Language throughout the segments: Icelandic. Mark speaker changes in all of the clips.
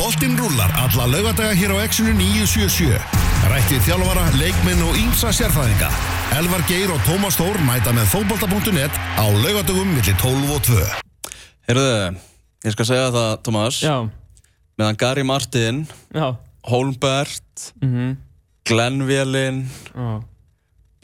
Speaker 1: Boltinn rúlar alla laugadaga hér á Exinu 977. Rættið þjálfara, leikmenn og ímsa sérfræðinga. Elvar Geir og Tómas Þór mæta með fótbolta.net á laugadagum millir 12 og 2.
Speaker 2: Heyrðu, ég skal segja það, Tómas
Speaker 3: Já,
Speaker 2: Meðan Gary Martin,
Speaker 3: já,
Speaker 2: Holmbert Glenn Vélin
Speaker 3: já.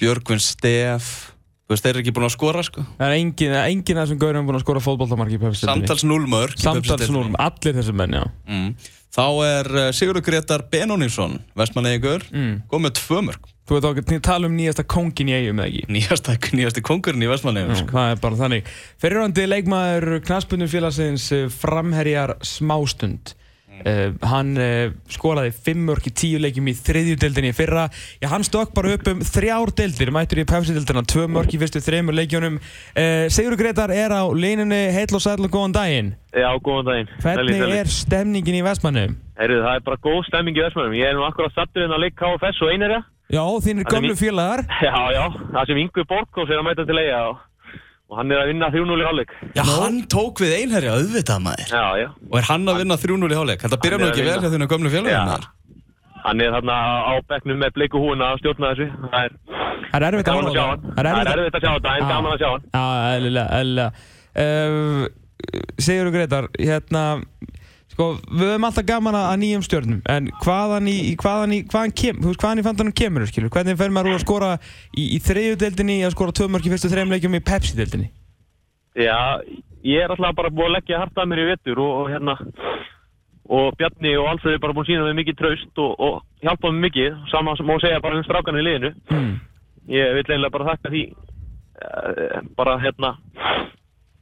Speaker 2: Björgvin Steff Þú veist, þeir eru ekki búin að skora, sko
Speaker 3: Það er engin, það er engin af þessum gaurum búin að skora fótboltamark í pepsiðinni.
Speaker 2: Samtals 0 mörg
Speaker 3: Samtals núrum, allir þessum menn, já.
Speaker 2: mm. Þá er eh, Sigurður Gretar Benónísson Vestmannegur, mm. kom með 2 mörg
Speaker 3: Þú veit okkur, þið tala um nýjasta kóngin í eigum eða ekki.
Speaker 2: Nýjasta, nýjasti kongurinn í Vestmannegur, sko
Speaker 3: Það er bara þannig. Fyrirhandi leikmaður knaspunum félagsins eh, framherjar smástund. Uh, hann uh, skoraði fimm mörk í tíu leikjum í þriðju deildinni í fyrra Já, hann stökk bara upp um þrjár deildir mættur í pepsideildina, tvö mörk í fyrstu þreymur leikjunum uh, Sigur Gretar er á línunni, heil og sæl og góðan daginn
Speaker 4: Já, góðan daginn.
Speaker 3: Hvernig
Speaker 4: Sælir, sælir.
Speaker 3: er stemningin í Vestmannum?
Speaker 4: Heyrðu, það er bara góð stemming í Vestmannum. Ég er nú akkurat sattur inn að leik KFS og einherja.
Speaker 3: Já, þínir
Speaker 4: er
Speaker 3: gömlu
Speaker 4: mín-
Speaker 3: félagar
Speaker 4: Já, já, það sem Ingu Borgkós er að mæta til eiga og, og hann er að vinna 3-0 í hálfleik.
Speaker 2: Já, hann tók við einherja auðvitað maður
Speaker 4: Já, já.
Speaker 2: Og er hann að vinna 3-0 í hálfleik Þetta byrjar
Speaker 4: Hann
Speaker 2: nú
Speaker 4: er að
Speaker 2: ekki vel
Speaker 4: vinna.
Speaker 2: hjá þínu gömlu
Speaker 4: Já.
Speaker 2: félagum maður
Speaker 4: Hann er þarna á bekknum með bleiku húna að stjórna þessu. Það er
Speaker 3: Það er erfitt að
Speaker 4: gaman að sjá
Speaker 3: horfa á
Speaker 4: hann.
Speaker 3: það.
Speaker 4: Það
Speaker 3: erfitt
Speaker 4: er
Speaker 3: að- Ah.
Speaker 4: erfitt að sjá þetta, en
Speaker 3: Já.
Speaker 4: gaman að sjá hann.
Speaker 3: Já, eðlilega, eðlilega uh, Sigurður Gretar, hérna Sko, við höfum alltaf gaman að að nýjum stjörnum En hvaðan í, í hvaðan í, hvaðan kem Þú veist, hvaðan í fandanum kemur, skilur Hvernig fer maður úr að skora í, í þriðju deildinni Að skora tvö mörk í fyrstu þreim leikjum í Pepsi deildinni
Speaker 4: Já, ég er alltaf bara búið að leggja hart að mér í vettur og, og hérna... Og Bjarni og Alfred er bara búin að sína mig mikið traust og, og hjálpa mig mikið. Sama sem má segja bara um strákanu í liðinu.
Speaker 3: mm.
Speaker 4: ég vil einlega bara þakka því eh, bara hérna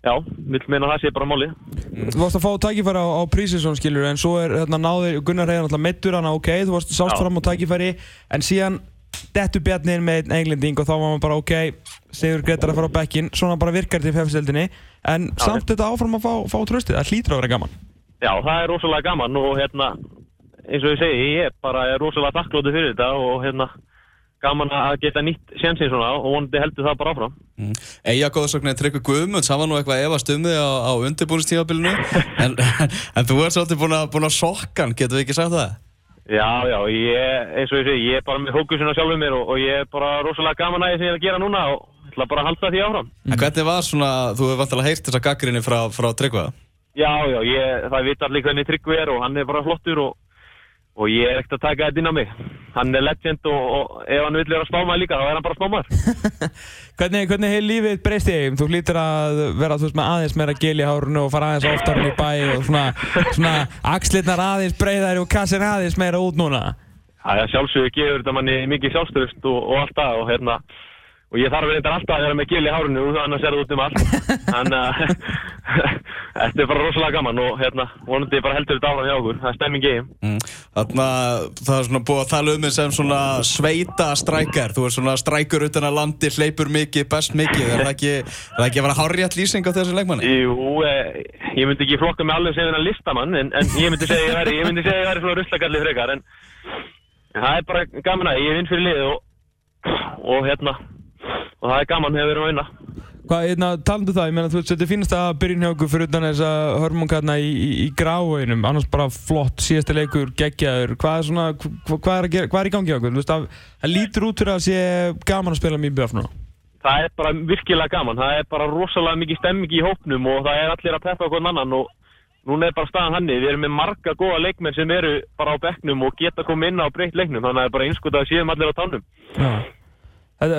Speaker 4: já, vil meina að það sé bara máli
Speaker 3: Mm. Þú varst að fá tækifæri á, á Prísinsson skilur en svo er hérna náður Gunnar Reyðan alltaf meittur hann ok, þú varst sást
Speaker 4: Já.
Speaker 3: fram á tækifæri en síðan dettu bjarnin með einn englending og þá var maður bara ok Sigur Gretar að fara á bekkin, svona bara virkar þetta í fefseldinni en samt þetta áfram að fá, fá tröstið, það hlýtur að vera gaman
Speaker 4: já, það er rosalega gaman og hérna eins og ég segi, ég er bara er rosalega þakklóti fyrir þetta og hérna gaman að geta nýtt sjansinn svona og vonandi heldur það bara áfram
Speaker 2: Mm. Eija góðsóknir Tryggvi Guðmunds, hann var nú eitthvað að efast um þig á, á undirbúinstífabilinu en, en þú ert svolítið búin að, búin að sokka hann, getur við ekki sagt það?
Speaker 4: já, já, ég, eins og ég segi, ég er bara með hókusinn á sjálfum mér og, og ég er bara rosalega gaman að því sem ég er að gera núna og ætla bara að halda því áfram
Speaker 2: En hvernig var svona, þú hefur vantilega heyrt þessa gaggrinni frá, frá Tryggva?
Speaker 4: Já, já, ég, það veit allir hvernig Tryggvi er og hann er bara flottur og, og ég er ekkert að taka þetta inn á mig. Hann er legend og, og ef hann vill vera spámaður líka, þá er hann bara spámaður.
Speaker 3: Hvernig, hvernig hefur lífið breyst í eigum? Þú hlýtur að vera þú veist, með aðeins meira gel í hárunu og fara aðeins oftar inn í bæ og svona, svona axlirnar aðeins breyðari og kassin aðeins meira út núna
Speaker 4: Það er sjálfsögur gefur þetta manni mikið sjálfstöðust og, og allt það og hérna, og ég þarf reyndar alltaf að vera með gil í hárinu, annars er það út um allt. Þannig að þetta er bara rosalega gaman og hérna, vonandi bara heldur þetta áfram hjá okkur, það er stemming geim.
Speaker 2: Mm. Þarna, það er svona búið að tala um þig sem svona sveita strækjar þú ert svona strækur utan að landi, hleypur mikið, best mikið er það ekki, er það ekki að vera hárjætt lýsing á þessu leikmanni?
Speaker 4: Jú, eh, ég myndi ekki flokka með alveg sem þennan listamann en, en ég myndi segja að ég væri, ég myndi segja að ég væri svona ruslakalli frekar en, en það er bara gaman að ég vinn fyrir liðið og, og hérna og það er gaman þegar við erum að vinna
Speaker 3: Hvað, hérna, talandu það, ég meina, þú veist, þetta er fínasta byrjun hjá okkur fyrir utan þess að hörmungarna í, í, í gráinum, annars bara flott, síðasta leikur, geggjaður, hvað er svona, hvað, hvað, er, að gera, hvað er í gangi hjá okkur, þú veist, það- það lítur út fyrir að sé gaman að spila mjög bjöfn núna.
Speaker 4: það er bara virkilega gaman, það er bara rosalega mikið stemming í hópnum og það er allir að peppa hvern annan og núna er bara staðan hannig, við erum með marga góða leikmenn sem eru bara á bekknum og geta komið inn á breytt leiknum, þannig að það er bara einskot að við séum allir á tánum
Speaker 3: Já. En-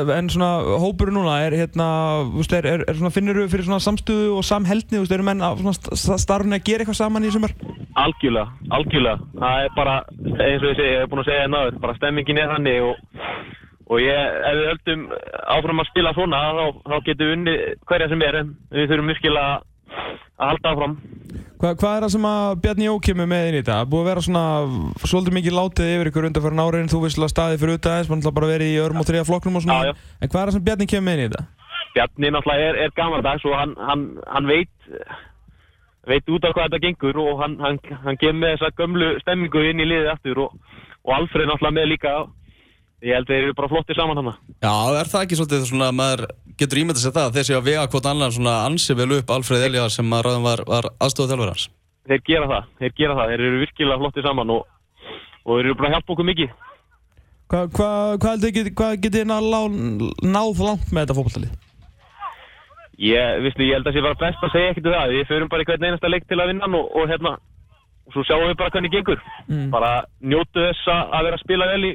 Speaker 3: En svona, hópur núna er, hérna, þú veist, er, er, er svona, finnur þú fyrir svona samstöðu og samheldni, þú veist, eru menn að svona sta- sta- starfni að gera eitthvað saman í sumar?
Speaker 4: Algjörlega, algjörlega. Það er bara, eins og ég segi, ég hef búin að segja það náður, bara stemmingin er þannig og, og ég, ef við höldum áfram að spila svona, þá, þá getum við unni hverja sem er, en við þurfum virkilega að halda áfram.
Speaker 3: Hva, hvað er það sem að Bjarni Jó kemur með inn í þetta? Búið að vera svona svolítið mikið látið yfir ykkur undan fyrir náriðin, þú visslega staðið fyrir utan þess, mann ætla bara að vera í örum og þriða flokknum og svona.
Speaker 4: Já, já.
Speaker 3: En hvað er það sem Bjarni kemur með inn í þetta?
Speaker 4: Bjarni náttúrulega er, er gamaldags og hann, hann, hann veit, veit út af hvað þetta gengur og hann, hann, hann kemur með þessa gömlu stemmingu inn í liðið aftur og, og Alfred náttúrulega með líka. Ég held að þeir eru bara flottir saman hann.
Speaker 2: Já, er það ekki svolítið svona að maður getur ímyndið sér það að þeir séu að vega hvort annan svona ansið vel upp Alfred Elja sem að ráðum var, var aðstofað hans?
Speaker 4: þeir gera það, þeir gera það, þeir eru virkilega flotti saman og, og þeir eru bara að hjálpa okkur mikið.
Speaker 3: Hvað hva, hva heldur þið, hvað getið þið náð, lá- náð langt með þetta fótballtalið?
Speaker 4: Ég, vissi, ég held að sé bara best að segja ekkert um það, við förum bara í hvern einasta leik til að vinna hann og, og hérna, og svo sjáum við bara hvernig gengur. Bara njótu þess að að vera að spila vel í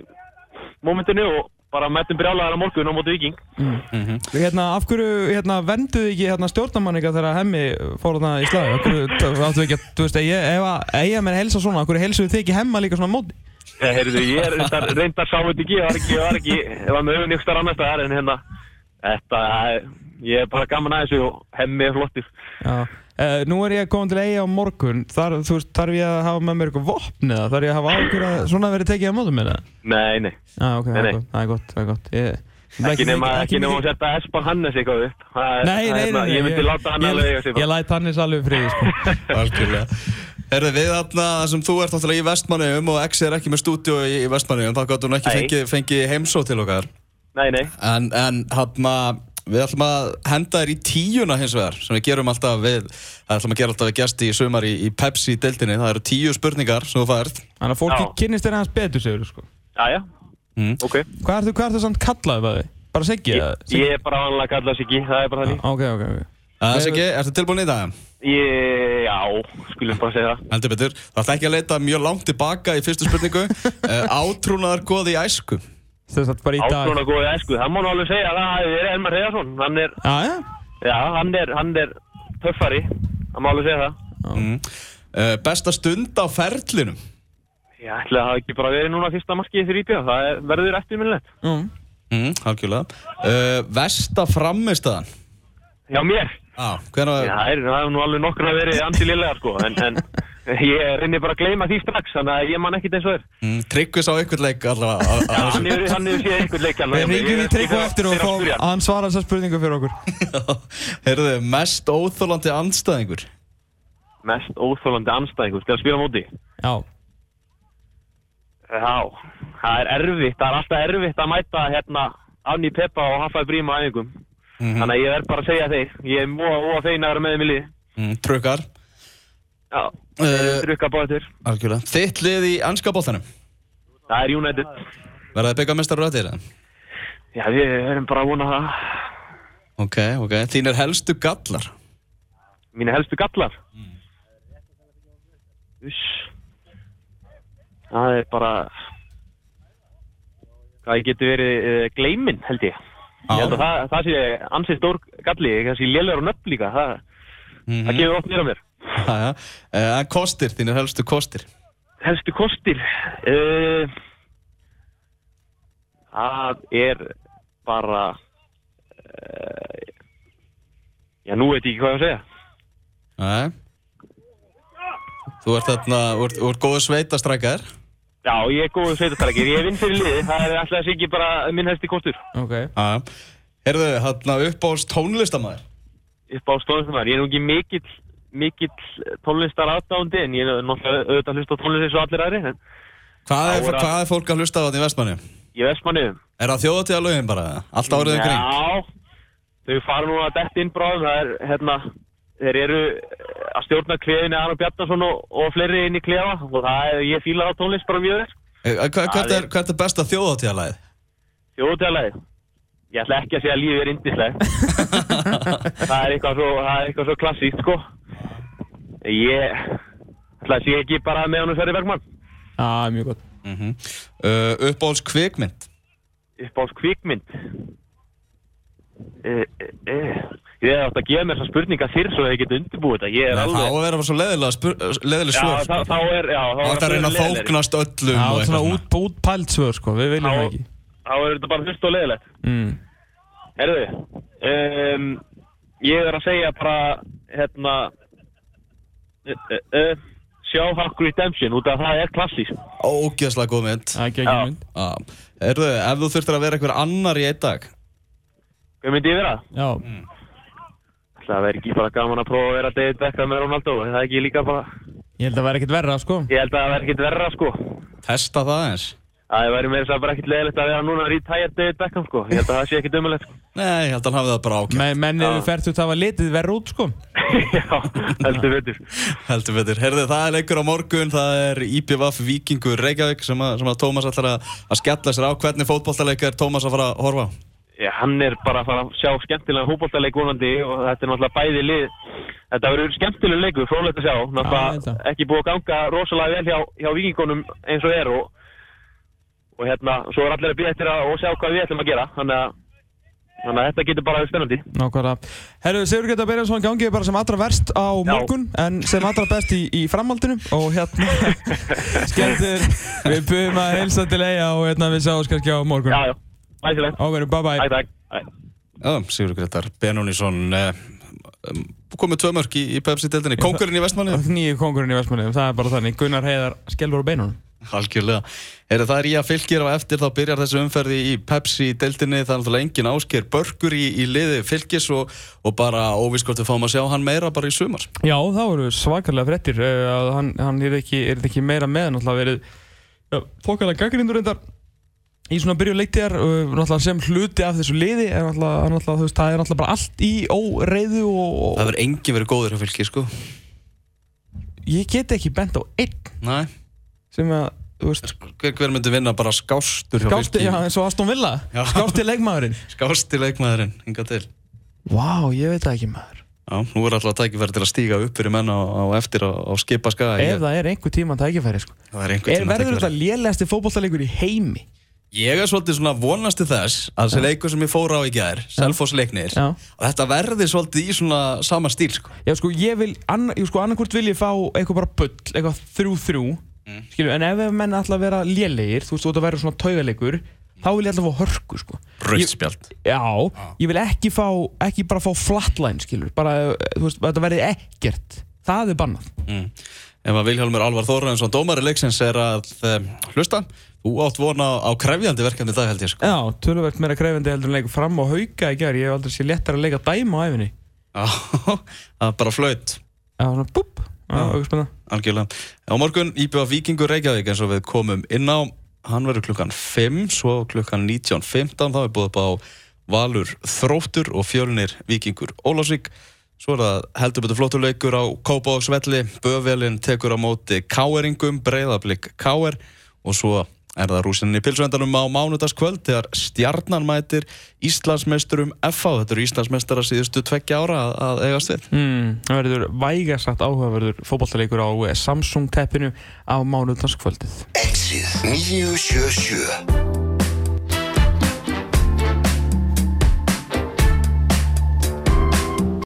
Speaker 4: mómentinu og bara mætum brjálaðar á morgun á móti viking. Mm.
Speaker 3: Hérna, af hverju, hérna, venduðu ekki hérna stjórnamanninga þegar Hemmi fór hérna í slag? Af hverju, t- áttu ekki að, þú veist, ef ef að eiga menn helsa svona, af hverju helsuðu þið ekki Hemma líka svona á móti?
Speaker 4: Þegar Eh, heyrðu, ég er reyndar, reyndar sáðið ekki, ég var ekki, ég var ekki, ég var með augun ykkur annars staðar en hérna, þetta, ég er bara gaman að þessu og hemmi er flottir.
Speaker 3: Já. Uh, nú er ég komin til eiga á morgun, þar, þú veist, þarf ég að hafa með mér eitthvað vopn eða þarf ég að hafa ákveð að svona verið tekið á mótum minna?
Speaker 4: Nei, nei,
Speaker 3: Já, ok, það
Speaker 4: Nei,
Speaker 3: er
Speaker 4: nei.
Speaker 3: gott, það er gott, það er gott. Ég,
Speaker 4: ekki nema, ekki nema
Speaker 3: mikið-
Speaker 4: að setja Espan Hannes eitthvað upp. Það
Speaker 3: Nei,
Speaker 4: er- það
Speaker 3: nei,
Speaker 4: er
Speaker 3: nei,
Speaker 4: hérna,
Speaker 3: nei
Speaker 4: Ég myndi láta hann
Speaker 3: ég-
Speaker 4: alveg eiga sig sko.
Speaker 3: Ég
Speaker 4: bara.
Speaker 3: læt hann eins alveg friði, sko
Speaker 2: Algjörlega Herðu við þarna sem þú ert náttúrulega í Vestmanneum og X er ekki með stúdíu í í Vestmanneum þá gott hún ekki
Speaker 4: Nei.
Speaker 2: fengið fengi heimsó til okkar
Speaker 4: Nei, nei,
Speaker 2: En, en hana, við ætlum að henda þér í tíuna hins vegar sem við gerum alltaf við það ætlum að gera alltaf við gesti í sumar í, í Pepsi-deltinni það eru tíu spurningar sem þú færð
Speaker 3: Þannig að fólki
Speaker 4: Já.
Speaker 3: kynnist þér aðeins betur, segur sko
Speaker 4: aðja,
Speaker 3: Hmm?
Speaker 2: Mm.
Speaker 4: ok.
Speaker 3: Hvað ertu, hvað ertu samt kallaðið að þið? Bara segja það
Speaker 4: Ég er bara vanlega að kalla Siggi, það er bara þannig.
Speaker 3: Ok, ok, ok
Speaker 2: Það er ekki, Eh, ertu tilbúin í dag?
Speaker 4: Ég, já, skulum bara segja það.
Speaker 2: Heldur betur, það ætti ekki að leita mjög langt tilbaka í fyrstu spurningu uh, Átrúnaðar góði í æsku
Speaker 3: Þess að bara í dag
Speaker 4: Átrúna góðið æsku, það má nú alveg segja það hafi verið Elmar Reyðarsson. Hann er,
Speaker 3: Já, já
Speaker 4: já, hann er, hann er töffari, það má alveg segja það.
Speaker 2: mm. uh, Besta stund á ferlinum
Speaker 4: Ég ætla að það hafi ekki bara verið núna fyrsta markið fyrir íbjöð, það er, verður eftirminnilegt.
Speaker 3: Mm.
Speaker 2: mm, Algjörlega uh, Vesta frammistaðan
Speaker 4: Já, mér.
Speaker 2: ah, Hvernig var
Speaker 4: Já, það er, það er nú alveg nokkur að verið ansi liðlega, sko, en, en ég reynir bara að gleyma því strax, þannig að ég man ekkit eins og er.
Speaker 2: mm, Tryggvis á einhvern leik allavega á- á- á
Speaker 4: Já,
Speaker 2: þessu.
Speaker 4: hann hefur, hann hefur séð einhvern leik alveg.
Speaker 3: Við ringjum í tryggu eftir og fáum
Speaker 4: fá...
Speaker 3: að hann svara þessar spurningu fyrir okkur
Speaker 2: Heyrðu, mest óþólandi andstæðingur
Speaker 4: Mest óþólandi anstæðingur, til að spila á móti.
Speaker 3: Já,
Speaker 4: Já, það er erfitt, það er alltaf erfitt að mæta hérna Afni Peppa og Haffaði Bríma æfingum.
Speaker 3: Mhm.
Speaker 4: Þannig að ég verð bara að segja þeir, ég er móa og þeir að vera með þeim í lið.
Speaker 2: mm, Trukkar
Speaker 4: Já,
Speaker 2: Eh,
Speaker 4: drukka báðir.
Speaker 2: Algjörlega Þitt lið í anska bóttanum
Speaker 4: Það er United.
Speaker 2: Verða þið byggamestar rættir það?
Speaker 4: Já, við erum bara að vona það.
Speaker 2: Ok, ok Þínir helstu gallar
Speaker 4: Mínu helstu gallar. Uss. Það er bara, hvað ég geti verið uh, gleiminn held ég.
Speaker 2: Já.
Speaker 4: Ég held að það, það sé ansið stór galli, kannski lélegar og nöpp líka, það, það gefur oft nýra mér.
Speaker 2: Jæja. Mhm, Eh, En kostir, þínir helstu kostir
Speaker 4: helstu kostir uh, það er bara uh, já nú veit ég ekki hvað ég á að segja
Speaker 2: Nei Þú ert þarna, þú ert, þú ert góðu sveitastrækjar
Speaker 4: já ég er góður sveitartalegir, ég vinn fyrir liði það er alltaf þessi ekki bara minn helsti kostur
Speaker 3: ok
Speaker 2: Heyrðu, þarna uppáhalds tónlistamæður
Speaker 4: upp á stóðumar, ég er nú ekki mikill mikill tónlistar aðdándi en ég er náttúrulega auðvitað að hlusta á tónlist eins og allir aðri en
Speaker 2: Hvað er,
Speaker 4: Ára.
Speaker 2: hvað er fólk að hlusta á þetta í vestmanni?
Speaker 4: ég veist manniðum
Speaker 2: Er það þjóðatíða lögin bara? eða? Allt árið um kring?
Speaker 4: Já, þau fara nú að detta inn bráðum, það er hérna, þeir eru að stjórna klefinu Arnur Bjarnason og, og fleiri inn í klefa og það er, ég fílar á tónlist bara mjög vel.
Speaker 2: Eh, hva- Hvert
Speaker 4: Já,
Speaker 2: er, hvert er besta þjóðatíða lagið?
Speaker 4: Þjóðutæðalagi, ég ætla ekki að segja að lífið er indislega, það er eitthvað svo, það er eitthvað svo klassíkt sko. Ég ætla að sé ekki bara með honum Sverri Bergmann,
Speaker 3: Já, mjög gott
Speaker 2: Mm -hmm. uh, uppáhalds kvikmynd
Speaker 4: upp á kvikmynd. Uh, uh, ég átt að gefa mér þessa spurninga þér svo ég get undirbúið þetta, ég er
Speaker 2: Nei,
Speaker 4: alveg...
Speaker 2: þá að vera bara svo leiðilega spur, leiðileg svör
Speaker 4: Já,
Speaker 2: sko.
Speaker 4: þá, þá er, já, þá
Speaker 2: þá er það að reyna að
Speaker 4: leiðilegt.
Speaker 2: þóknast öllum
Speaker 3: Já,
Speaker 2: um og eitthvað
Speaker 3: svona
Speaker 2: svona.
Speaker 3: út, útpælt svör, sko, við viljum það
Speaker 4: Þá-
Speaker 3: ekki
Speaker 4: Þá er þetta bara hlust og leðilegt.
Speaker 3: mm.
Speaker 4: Herðu, um, ég er að segja bara, hérna, uh, uh, uh, sjá Haku Redemption, út af að það er klassís.
Speaker 2: ógeðslega góð mynd
Speaker 3: Það er ekki
Speaker 4: Já.
Speaker 3: ekki mynd
Speaker 2: Já. Erðu, ef þú þurftir að vera einhver annar í einn dag
Speaker 4: Hvað myndi ég vera?
Speaker 3: Já,
Speaker 4: Það verður ekki bara gaman að prófa að vera David Beckham með Ronaldo, er það er ekki líka bara,
Speaker 3: ég held að vera ekkert verra, sko
Speaker 4: ég held að það verður ekkit verra, sko.
Speaker 2: testa það eins
Speaker 4: Það væri meira þess að bara ekkit leðilegt að vera núna að rítæja David Beckham, sko. Ég held að það sé ekkit umulegt, sko.
Speaker 2: Nei, ég held að hann hafi það bara ákjæmt
Speaker 3: Men, menn eru fært út að hafa litið verra út sko
Speaker 4: Já, heldur betur.
Speaker 2: Heldur betur. Herði, það er leikur á morgun, það er IPVF Víkingur Reykjavík sem að, sem að Tómas ætlar að, að skella sér á. Hvernig fótballtaleika er Tómas að fara að horfa á?
Speaker 4: Já, hann er bara að fara að sjá skemmtilega hópoltaleik vonandi og þetta er náttúrulega bæði lið. Þetta verður skemmtilega leikur, frólægt að sjá.
Speaker 3: Já, ég held
Speaker 4: Náttúrulega
Speaker 3: það.
Speaker 4: ekki búið að ganga rosalega vel hjá, hjá vikingunum eins og er og, og hérna, svo er allir að býja eftir að og sjá hvað við ætlum að gera. Þannig að, þannig að þetta getur bara að vera spennandi.
Speaker 3: Nákvæmlega. Herru, Sigur Geta Berjansson gangið bara sem allra verst á morgun en sem allra best í, í framhaldinu og hérna skemmtir við byrjum að heilsa til eiga og hérna við sjáum kannski á morgun
Speaker 4: Já, já, æsilegt.
Speaker 3: Áverjum, bye bye
Speaker 4: Takk, takk. Æ.
Speaker 2: Já, Sigur Gretar Benónísson eh, um, komið tvö mörk í, í Pepsi-dildinni. Kongurinn í Vestmanni?
Speaker 3: Nýju kongurinn í Vestmanniðum, það er bara þannig Gunnar Heiðar skelfur á beinunum
Speaker 2: Algjörlega. Herði, það er í að fylgir á eftir, þá byrjar þessi umferði í Pepsi-dildinni. Það er náttúrulega engin ásker börgur í, í liði fylgis og, og bara óvískort við fáum að sjá hann meira bara í sumar.
Speaker 3: Já, það voru svakarlega frettir eh, að hann, hann er, ekki, er ekki meira með náttúrulega verið fokkalega gaggrindur reyndar í svona byrju leiktíðar eh, náttúrulega sem hluti af þessu liði en náttúrulega, hann náttúrulega, þú veist, það er náttúrulega bara allt í óreiðu og,
Speaker 2: Það verður engin verið góður hjá fylgir, sko.
Speaker 3: og ég get ekki bent á einn
Speaker 2: Nei.
Speaker 3: sem að, þú veist,
Speaker 2: Hver, hver myndi vinna bara skástur hjá
Speaker 3: gátti,
Speaker 2: Fylki?
Speaker 3: já, eins og Aston Villa
Speaker 2: Já.
Speaker 3: gátti leikmaðurinn
Speaker 2: Skásti leikmaðurinn, hinga til
Speaker 3: Vá, ég veit það ekki maður
Speaker 2: Já, nú er alltaf tækifæri til að stíga upp fyrir menn á, á eftir á, á skipa skaga
Speaker 3: Ef það er einhver tíma tækifæri, sko
Speaker 2: það er einhvern
Speaker 3: er,
Speaker 2: tímann
Speaker 3: Verður
Speaker 2: tækifæri.
Speaker 3: þetta lélegasti fótbollalegur í heimi?
Speaker 2: Ég er svolítið svona vonasti þess að þessi leikur sem ég fór á í gær, Selfoss leiknir
Speaker 3: Já.
Speaker 2: og þetta verði svolítið í svona sama stíl sko.
Speaker 3: Já, sko, ég vil, anna, ég, sko, annarkvort vil ég fá eitthvað bara bull, eitthvað þrjú-þrjú, mm. en ef ef menn ætla að vera lélegir, þú veist, þú ætla að vera svona taugalegur, þá vil ég alltaf fá hörku, sko. Ég-
Speaker 2: Rauðspjald
Speaker 3: Já, ég vil ekki fá, ekki bara fá flatline, skilur, bara, eh, þú veist, þetta verði ekkert. Það er bannað.
Speaker 2: mm. Ef að Vilhjálmur Alvar Þóraðinsson, dómari leiksins er að um, hlusta, þú átt vona á krefjandi verkefni það held ég sko.
Speaker 3: Já, töluvert meira krefindi heldur en leikur fram og hauka í gerð, ég hef aldrei sé léttar að leika dæma á æfinni.
Speaker 2: Já, það er bara flaut
Speaker 3: Já, svona, búp, já, auðvitað spenna.
Speaker 2: Algjörlega. Á morgun íbjöða Víkingur Reykjavík eins og við komum inn á hann verður klukkan 5, svo klukkan 19.15 þá er búið upp á Valur Þróttur og fjölnir Víkingur Ólásvík. Svo er það heldur betur flottur leikur á Kópavogsvelli Böfvelin tekur á móti Káeringum Breiðablík Káer og svo er það rúsinni í pilsuendanum á mánudagskvöld þegar stjarnan mætir Íslandsmeisturum FH þetta eru Íslandsmeistara síðustu tveggja ára að, að eigast við.
Speaker 3: Mm, það verður vægasagt áhugaverður fótballtaleikur á eh, Samsung teppinu á mánudagskvöldið.
Speaker 1: Exið 977